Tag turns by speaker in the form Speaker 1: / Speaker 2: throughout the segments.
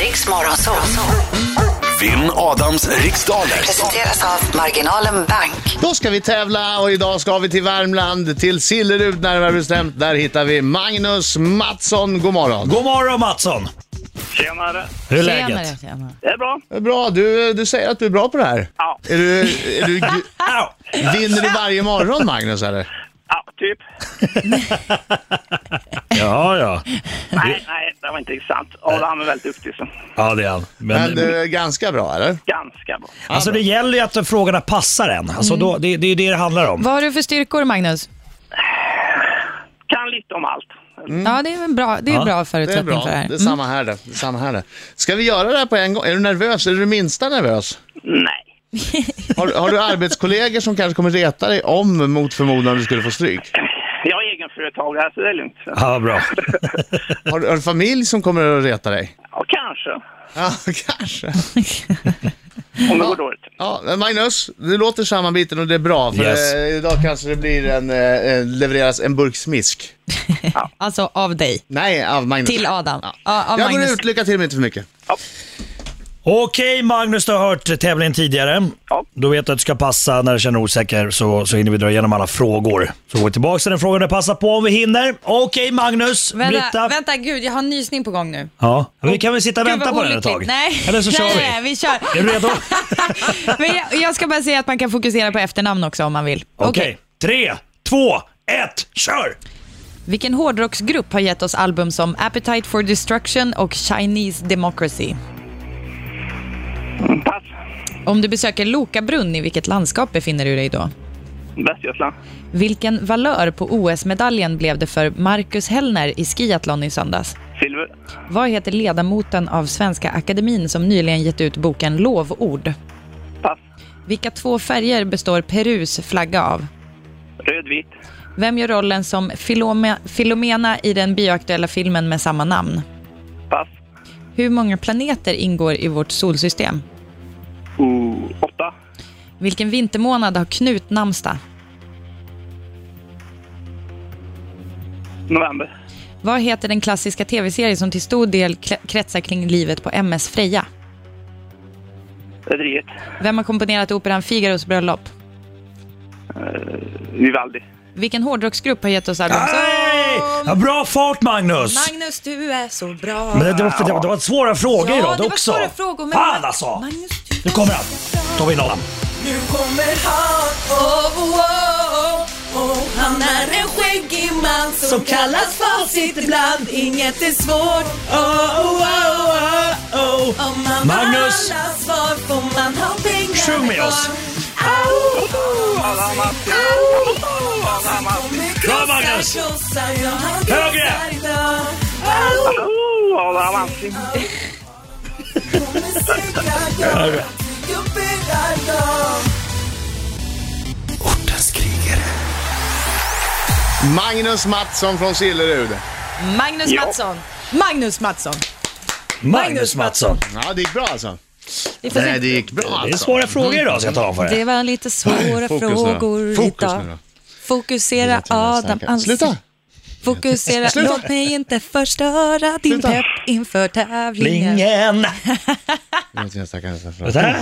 Speaker 1: Riks Morgonzoo.
Speaker 2: Vinn Adams riksdaler.
Speaker 1: Presenteras av Marginalen Bank.
Speaker 3: Då ska vi tävla och idag ska vi till Värmland, till Sillerud närmare bestämt. Där hittar vi Magnus Mattsson. God morgon.
Speaker 4: God morgon Mattsson!
Speaker 5: Tjenare.
Speaker 4: Hur är
Speaker 6: Tjenare,
Speaker 4: läget?
Speaker 6: tjenare.
Speaker 5: Det är bra.
Speaker 3: Bra, du, du säger att du är bra på det här.
Speaker 5: Ja.
Speaker 3: Är du, är du,
Speaker 4: Au!
Speaker 3: vinner du varje morgon Magnus eller?
Speaker 5: Ja, typ.
Speaker 4: Ja, ja.
Speaker 5: Nej, nej, det var inte sant. Adam han är väldigt duktig så.
Speaker 4: Ja, det är han. Men,
Speaker 3: Men du är ganska bra eller?
Speaker 5: Ganska bra.
Speaker 4: alltså det gäller ju att frågorna passar en. Alltså,
Speaker 6: Mm.
Speaker 4: då, det, det är ju det det handlar om.
Speaker 6: Vad har du för styrkor, Magnus?
Speaker 5: Kan lite om allt.
Speaker 6: Ja, det är en bra, det är en bra
Speaker 3: Det är
Speaker 6: förutsättning
Speaker 3: bra,
Speaker 6: för det här.
Speaker 3: det är samma här det. det, är samma här det. Ska vi göra det här på en gång? Är du nervös? Är du det minsta nervös?
Speaker 5: Nej.
Speaker 3: Har, har du arbetskollegor som kanske kommer reta dig om mot förmodan du skulle få stryk?
Speaker 5: Jag är egenföretagare så det är lugnt.
Speaker 4: Ja, vad bra.
Speaker 3: Har, du- har du familj som kommer att reta dig?
Speaker 5: Ja, kanske.
Speaker 3: Ja, kanske.
Speaker 5: Om det går dåligt.
Speaker 3: Ja, men Magnus, du låter sammanbiten och det är bra för
Speaker 4: Yes.
Speaker 3: eh, idag kanske det blir en, eh, eh, levereras en burk smisk.
Speaker 6: Alltså av dig,
Speaker 3: Nej, av Magnus.
Speaker 6: till Adam. Ja. av
Speaker 3: Jag går
Speaker 6: Magnus.
Speaker 3: ut, lycka till men inte för mycket.
Speaker 4: Okej Magnus, du har hört tävlingen tidigare.
Speaker 5: Ja.
Speaker 4: Då vet du att du ska passa när du känner dig osäker så, så hinner vi dra igenom alla frågor. Så går vi tillbaka till den frågan du passar på om vi hinner. Okej Magnus,
Speaker 6: Vänta,
Speaker 4: Britta.
Speaker 6: vänta, gud, jag har en nysning på gång nu.
Speaker 4: Ja, men vi kan väl sitta och
Speaker 6: Gud,
Speaker 4: vänta
Speaker 6: vad
Speaker 4: på den ett
Speaker 6: olyckligt.
Speaker 4: tag?
Speaker 6: Nej.
Speaker 4: Eller så kör
Speaker 6: nej,
Speaker 4: vi.
Speaker 6: Nej, vi kör.
Speaker 4: Är du redo?
Speaker 6: Men jag, jag ska bara säga att man kan fokusera på efternamn också om man vill.
Speaker 4: Okej, tre, två, ett, kör!
Speaker 6: Vilken hårdrocksgrupp har gett oss album som Appetite for Destruction och Chinese Democracy?
Speaker 5: Mm, Pass.
Speaker 6: Om du besöker Loka brunn, i vilket landskap befinner du dig då?
Speaker 5: Västgötland.
Speaker 6: Vilken valör på OS-medaljen blev det för Marcus Hellner i skiathlon i söndags?
Speaker 5: Silver.
Speaker 6: Vad heter ledamoten av Svenska Akademin som nyligen gett ut boken Lovord?
Speaker 5: Pass.
Speaker 6: Vilka två färger består Perus flagga av?
Speaker 5: Rödvit.
Speaker 6: Vem gör rollen som Filome- Filomena i den bioaktuella filmen med samma namn?
Speaker 5: Pass.
Speaker 6: Hur många planeter ingår i vårt solsystem?
Speaker 5: Ooh, Oh, åtta.
Speaker 6: Vilken vintermånad har Knut namnsdag?
Speaker 5: November.
Speaker 6: Vad heter den klassiska tv-serie som till stor del kle- kretsar kring livet på MS Freja?
Speaker 5: Rederiet.
Speaker 6: Vem har komponerat operan Figaros bröllop?
Speaker 5: Vivaldi.
Speaker 6: Vilken hårdrocksgrupp har gett oss album?
Speaker 4: Nej! Ja, bra fart Magnus!
Speaker 6: Magnus, du är så bra.
Speaker 4: Men det, det, var, för, det, var- det var svåra frågor
Speaker 6: Ja,
Speaker 4: idag
Speaker 6: det var
Speaker 4: också.
Speaker 6: svåra frågor, men-
Speaker 4: Fan alltså!
Speaker 6: Magnus,
Speaker 4: nu kommer han. Då har vi in honom.
Speaker 7: Nu kommer han, oh, oh, oh, oh. Han är en skäggig man som, kallas facit ibland Inget är svårt, oh, oh, oh, oh, oh. Om man
Speaker 4: Magnus!
Speaker 7: har alla svar får man ha pengar
Speaker 4: Sjung med oss. Bra, Magnus. Högre.
Speaker 5: Ooh, Oh, Adam Alsing.
Speaker 7: Högre!
Speaker 2: Ortens krigare.
Speaker 3: Magnus Mattsson från Sillerud.
Speaker 6: Magnus
Speaker 5: Ja.
Speaker 6: Mattsson. Magnus Mattsson.
Speaker 4: Magnus Mattsson.
Speaker 3: Ja, det gick bra alltså.
Speaker 6: Vi får se.
Speaker 3: Nej, det gick bra
Speaker 4: Det är
Speaker 3: alltså.
Speaker 4: svåra frågor idag ska jag ta för er.
Speaker 6: Det var lite svåra
Speaker 3: Fokus nu då.
Speaker 6: frågor
Speaker 3: Fokus
Speaker 6: idag.
Speaker 3: nu då.
Speaker 6: Fokusera Adam Alsing.
Speaker 3: Sluta!
Speaker 6: Fokusera, låt mig inte förstöra din
Speaker 3: Sluta.
Speaker 6: pepp inför tävlingen.
Speaker 4: Ingen.
Speaker 3: Jag vet inte, jag stackar nästan fram.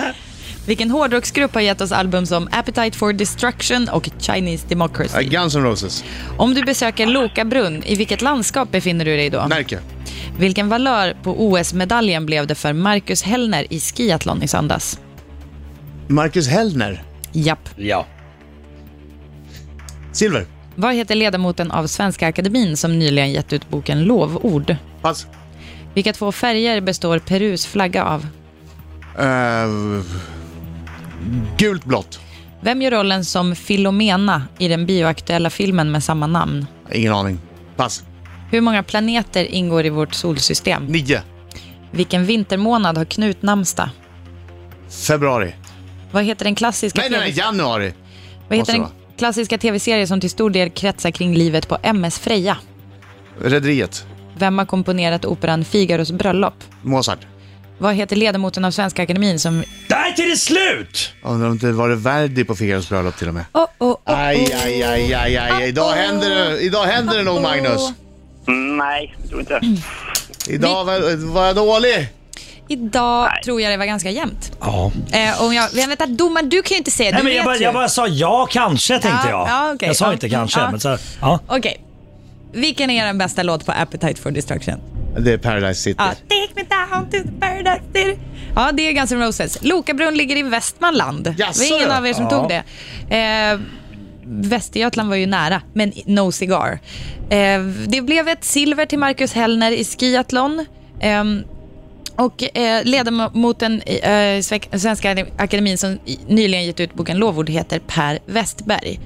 Speaker 6: Vilken hårdrocksgrupp har gett oss album som Appetite for Destruction och Chinese
Speaker 3: Ja,
Speaker 6: Democracy?
Speaker 3: Guns N' Roses.
Speaker 6: Om du besöker Loka brunn, i vilket landskap befinner du dig då?
Speaker 3: Närke.
Speaker 6: Vilken valör på OS-medaljen blev det för Marcus Hellner i skiathlon i söndags?
Speaker 3: Marcus Hellner.
Speaker 6: Japp.
Speaker 4: Ja.
Speaker 3: Silver.
Speaker 6: Vad heter ledamoten av Svenska Akademin som nyligen gett ut boken Lovord?
Speaker 3: Pass.
Speaker 6: Vilka två färger består Perus flagga av?
Speaker 3: Eh, gult blått.
Speaker 6: Vem gör rollen som Filomena i den bioaktuella filmen med samma namn?
Speaker 3: Ingen aning. Pass.
Speaker 6: Hur många planeter ingår i vårt solsystem?
Speaker 3: Nio.
Speaker 6: Vilken vintermånad har Knut namnsdag?
Speaker 3: Februari.
Speaker 6: Vad heter den klassiska
Speaker 3: Nej, nej, nej,
Speaker 6: TV
Speaker 3: januari.
Speaker 6: Vad heter den
Speaker 3: måste
Speaker 6: klassiska tv-serie som till stor del kretsar kring livet på MS Freja?
Speaker 3: Rederiet.
Speaker 6: Vem har komponerat operan Figaros bröllop?
Speaker 3: Mozart.
Speaker 6: Vad heter ledamoten av Svenska Akademin som...
Speaker 4: Där till det slut!
Speaker 3: Jag Undrar om det var det Verdi på Figaros bröllop till och med.
Speaker 6: Oh, oh, oh.
Speaker 3: Aj, aj, aj, aj, aj. Idag händer det, idag händer det nog Magnus.
Speaker 5: Mm, Nej, jag tror inte det.
Speaker 3: Idag var, var jag dålig.
Speaker 6: Idag
Speaker 5: Nej.
Speaker 6: tror jag det var ganska jämnt.
Speaker 4: Ja.
Speaker 6: Eh, och jag, jag vet att domaren, du kan ju inte se. Du
Speaker 4: Nej, men jag,
Speaker 6: vet
Speaker 4: bara,
Speaker 6: ju.
Speaker 4: jag bara sa ja, kanske tänkte
Speaker 6: Ja,
Speaker 4: jag.
Speaker 6: ja, okej.
Speaker 4: jag sa
Speaker 6: Ja.
Speaker 4: inte kanske,
Speaker 6: Ja.
Speaker 4: men så här, ja.
Speaker 6: Okej. Vilken är den bästa låt på Appetite for Destruction?
Speaker 3: Det är Paradise City.
Speaker 6: Ja, Take me down to the paradise city. Ja, det är Guns N' Roses. Lokabrunn ligger i Västmanland.
Speaker 3: Jaså,
Speaker 6: det var ingen
Speaker 3: ja.
Speaker 6: av er som
Speaker 4: Ja.
Speaker 6: tog det. Eh, Västergötland var ju nära, men no cigar. Eh, det blev ett silver till Marcus Hellner i skiathlon. Ehm, och eh, ledamoten i eh, Sve- Svenska Akademin som i- nyligen gett ut boken Lovord heter Per Westberg.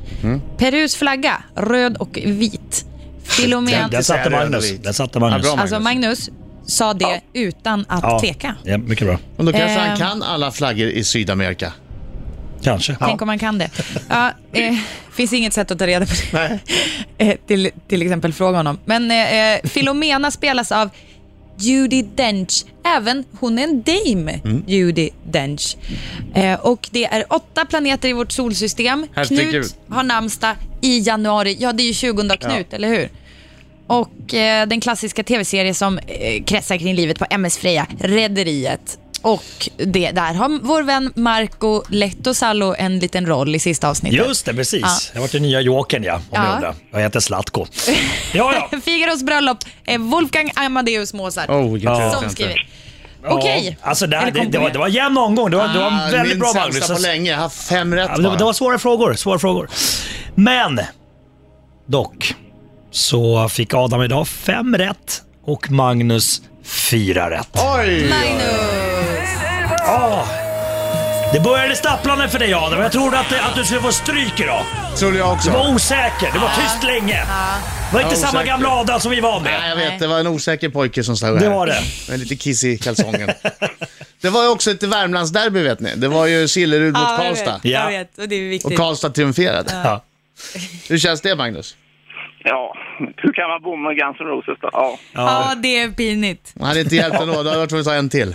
Speaker 6: Perus flagga, röd och vit. Filomen...
Speaker 4: Den satte
Speaker 3: säga röd och
Speaker 4: Magnus.
Speaker 3: vit.
Speaker 4: Den satte Magnus.
Speaker 3: Ja, bra,
Speaker 6: Alltså Magnus sa det utan att
Speaker 4: Ja.
Speaker 6: tveka.
Speaker 4: Ja, mycket bra.
Speaker 3: Men då kanske han
Speaker 6: Ehm.
Speaker 3: kan alla flaggor i Sydamerika.
Speaker 4: Kanske.
Speaker 6: Tänk om man kan det. Ja, eh, finns inget sätt att ta reda på det. Eh, till, till exempel fråga honom. Men eh, eh, Filomena spelas av Judi Dench. Även hon är en dame, Judi Dench. Eh, och det är åtta planeter i vårt solsystem.
Speaker 3: Herregud.
Speaker 6: Knut har namnsdag i januari. Ja, det är ju 20 Knut, eller hur? Och eh, den klassiska tv-serie som eh, kretsar kring livet på MS Freja, Rederiet. Och det, där har vår vän Marco Lehtosalo en liten roll i sista avsnittet.
Speaker 4: Just det, precis.
Speaker 6: Ja.
Speaker 4: Jag var till nya Jokern ja, om
Speaker 6: Ja.
Speaker 4: ni undrar. Jag heter Zlatko. Ja, ja.
Speaker 6: Figaros bröllop, eh, Wolfgang Amadeus Mozart.
Speaker 3: Oh, vilken
Speaker 4: Ja.
Speaker 6: Som
Speaker 3: trevlig
Speaker 6: skriver.
Speaker 3: center.
Speaker 6: Okej.
Speaker 4: Ja, alltså det, här,
Speaker 6: Eller
Speaker 4: det, det,
Speaker 6: komponera.
Speaker 4: var, det var en jämn omgång. Det var, det var
Speaker 3: Ah,
Speaker 4: väldigt bra
Speaker 3: Min
Speaker 4: Magnus.
Speaker 3: sämsta på länge. Jag har haft fem rätt
Speaker 4: Ja, men det,
Speaker 3: bara.
Speaker 4: var- det var svåra frågor, svåra frågor. Men, dock, så fick Adam idag fem rätt och Magnus fyra rätt.
Speaker 3: Oj!
Speaker 6: Magnus.
Speaker 4: Ja. Det började stapplande för dig Adam. Jag trodde att, att du skulle få stryk idag.
Speaker 3: Trodde jag
Speaker 4: Du
Speaker 3: också.
Speaker 4: var osäker, du var tyst länge. Det var inte
Speaker 3: Ja,
Speaker 4: samma
Speaker 3: osäker.
Speaker 4: gamla Adam som vi var
Speaker 3: Nej,
Speaker 4: med.
Speaker 3: jag vet. Det var en osäker pojke som stod här.
Speaker 4: Det var det.
Speaker 3: Med lite kiss i kalsongen. det var ju också ett Värmlandsderby vet ni. Det var ju Sillerud mot
Speaker 6: Ja, jag vet.
Speaker 3: Karlstad.
Speaker 4: Ja.
Speaker 6: Jag vet, och det är
Speaker 3: Och
Speaker 6: viktigt.
Speaker 3: Karlstad triumferade.
Speaker 4: Ja.
Speaker 3: Hur känns det Magnus?
Speaker 5: Ja, hur kan man bomma Guns N' Roses då? Ja.
Speaker 6: Ja, det är pinigt.
Speaker 3: Han hade inte hjälpt ändå. Då hade jag tvungen att ta en till.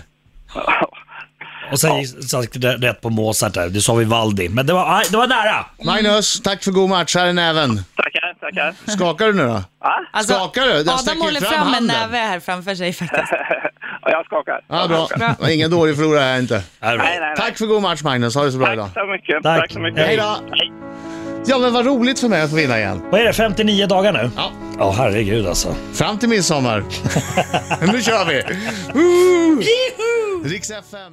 Speaker 4: Och sen gick- satt det rätt på Mozart där. Du sa Vivaldi. Men det var, aj, det var nära.
Speaker 3: Magnus, tack för god match. Här är näven.
Speaker 5: Tackar, tackar.
Speaker 3: Skakar du nu då?
Speaker 5: Ja,
Speaker 6: Alltså,
Speaker 3: Skakar du? Jag
Speaker 6: Adam
Speaker 3: sträcker
Speaker 6: håller
Speaker 3: fram
Speaker 6: fram en
Speaker 3: handen.
Speaker 6: näve här framför sig faktiskt.
Speaker 5: Ja, jag skakar.
Speaker 3: Ja, bra. Det var Ingen dålig förlorare här inte.
Speaker 4: Ja, det var-
Speaker 5: Nej, nej, nej.
Speaker 3: Tack för god match Magnus. Ha det så bra idag.
Speaker 5: Tack så mycket.
Speaker 4: Tack.
Speaker 5: Tack, så mycket.
Speaker 4: Hej
Speaker 3: då.
Speaker 5: Hej.
Speaker 3: Ja, men vad roligt för mig att få vinna igen.
Speaker 4: Vad är det, 59 dagar nu?
Speaker 3: Ja.
Speaker 4: Ja, herregud alltså.
Speaker 3: Fram till midsommar. nu kör vi! Woo! Riks FM.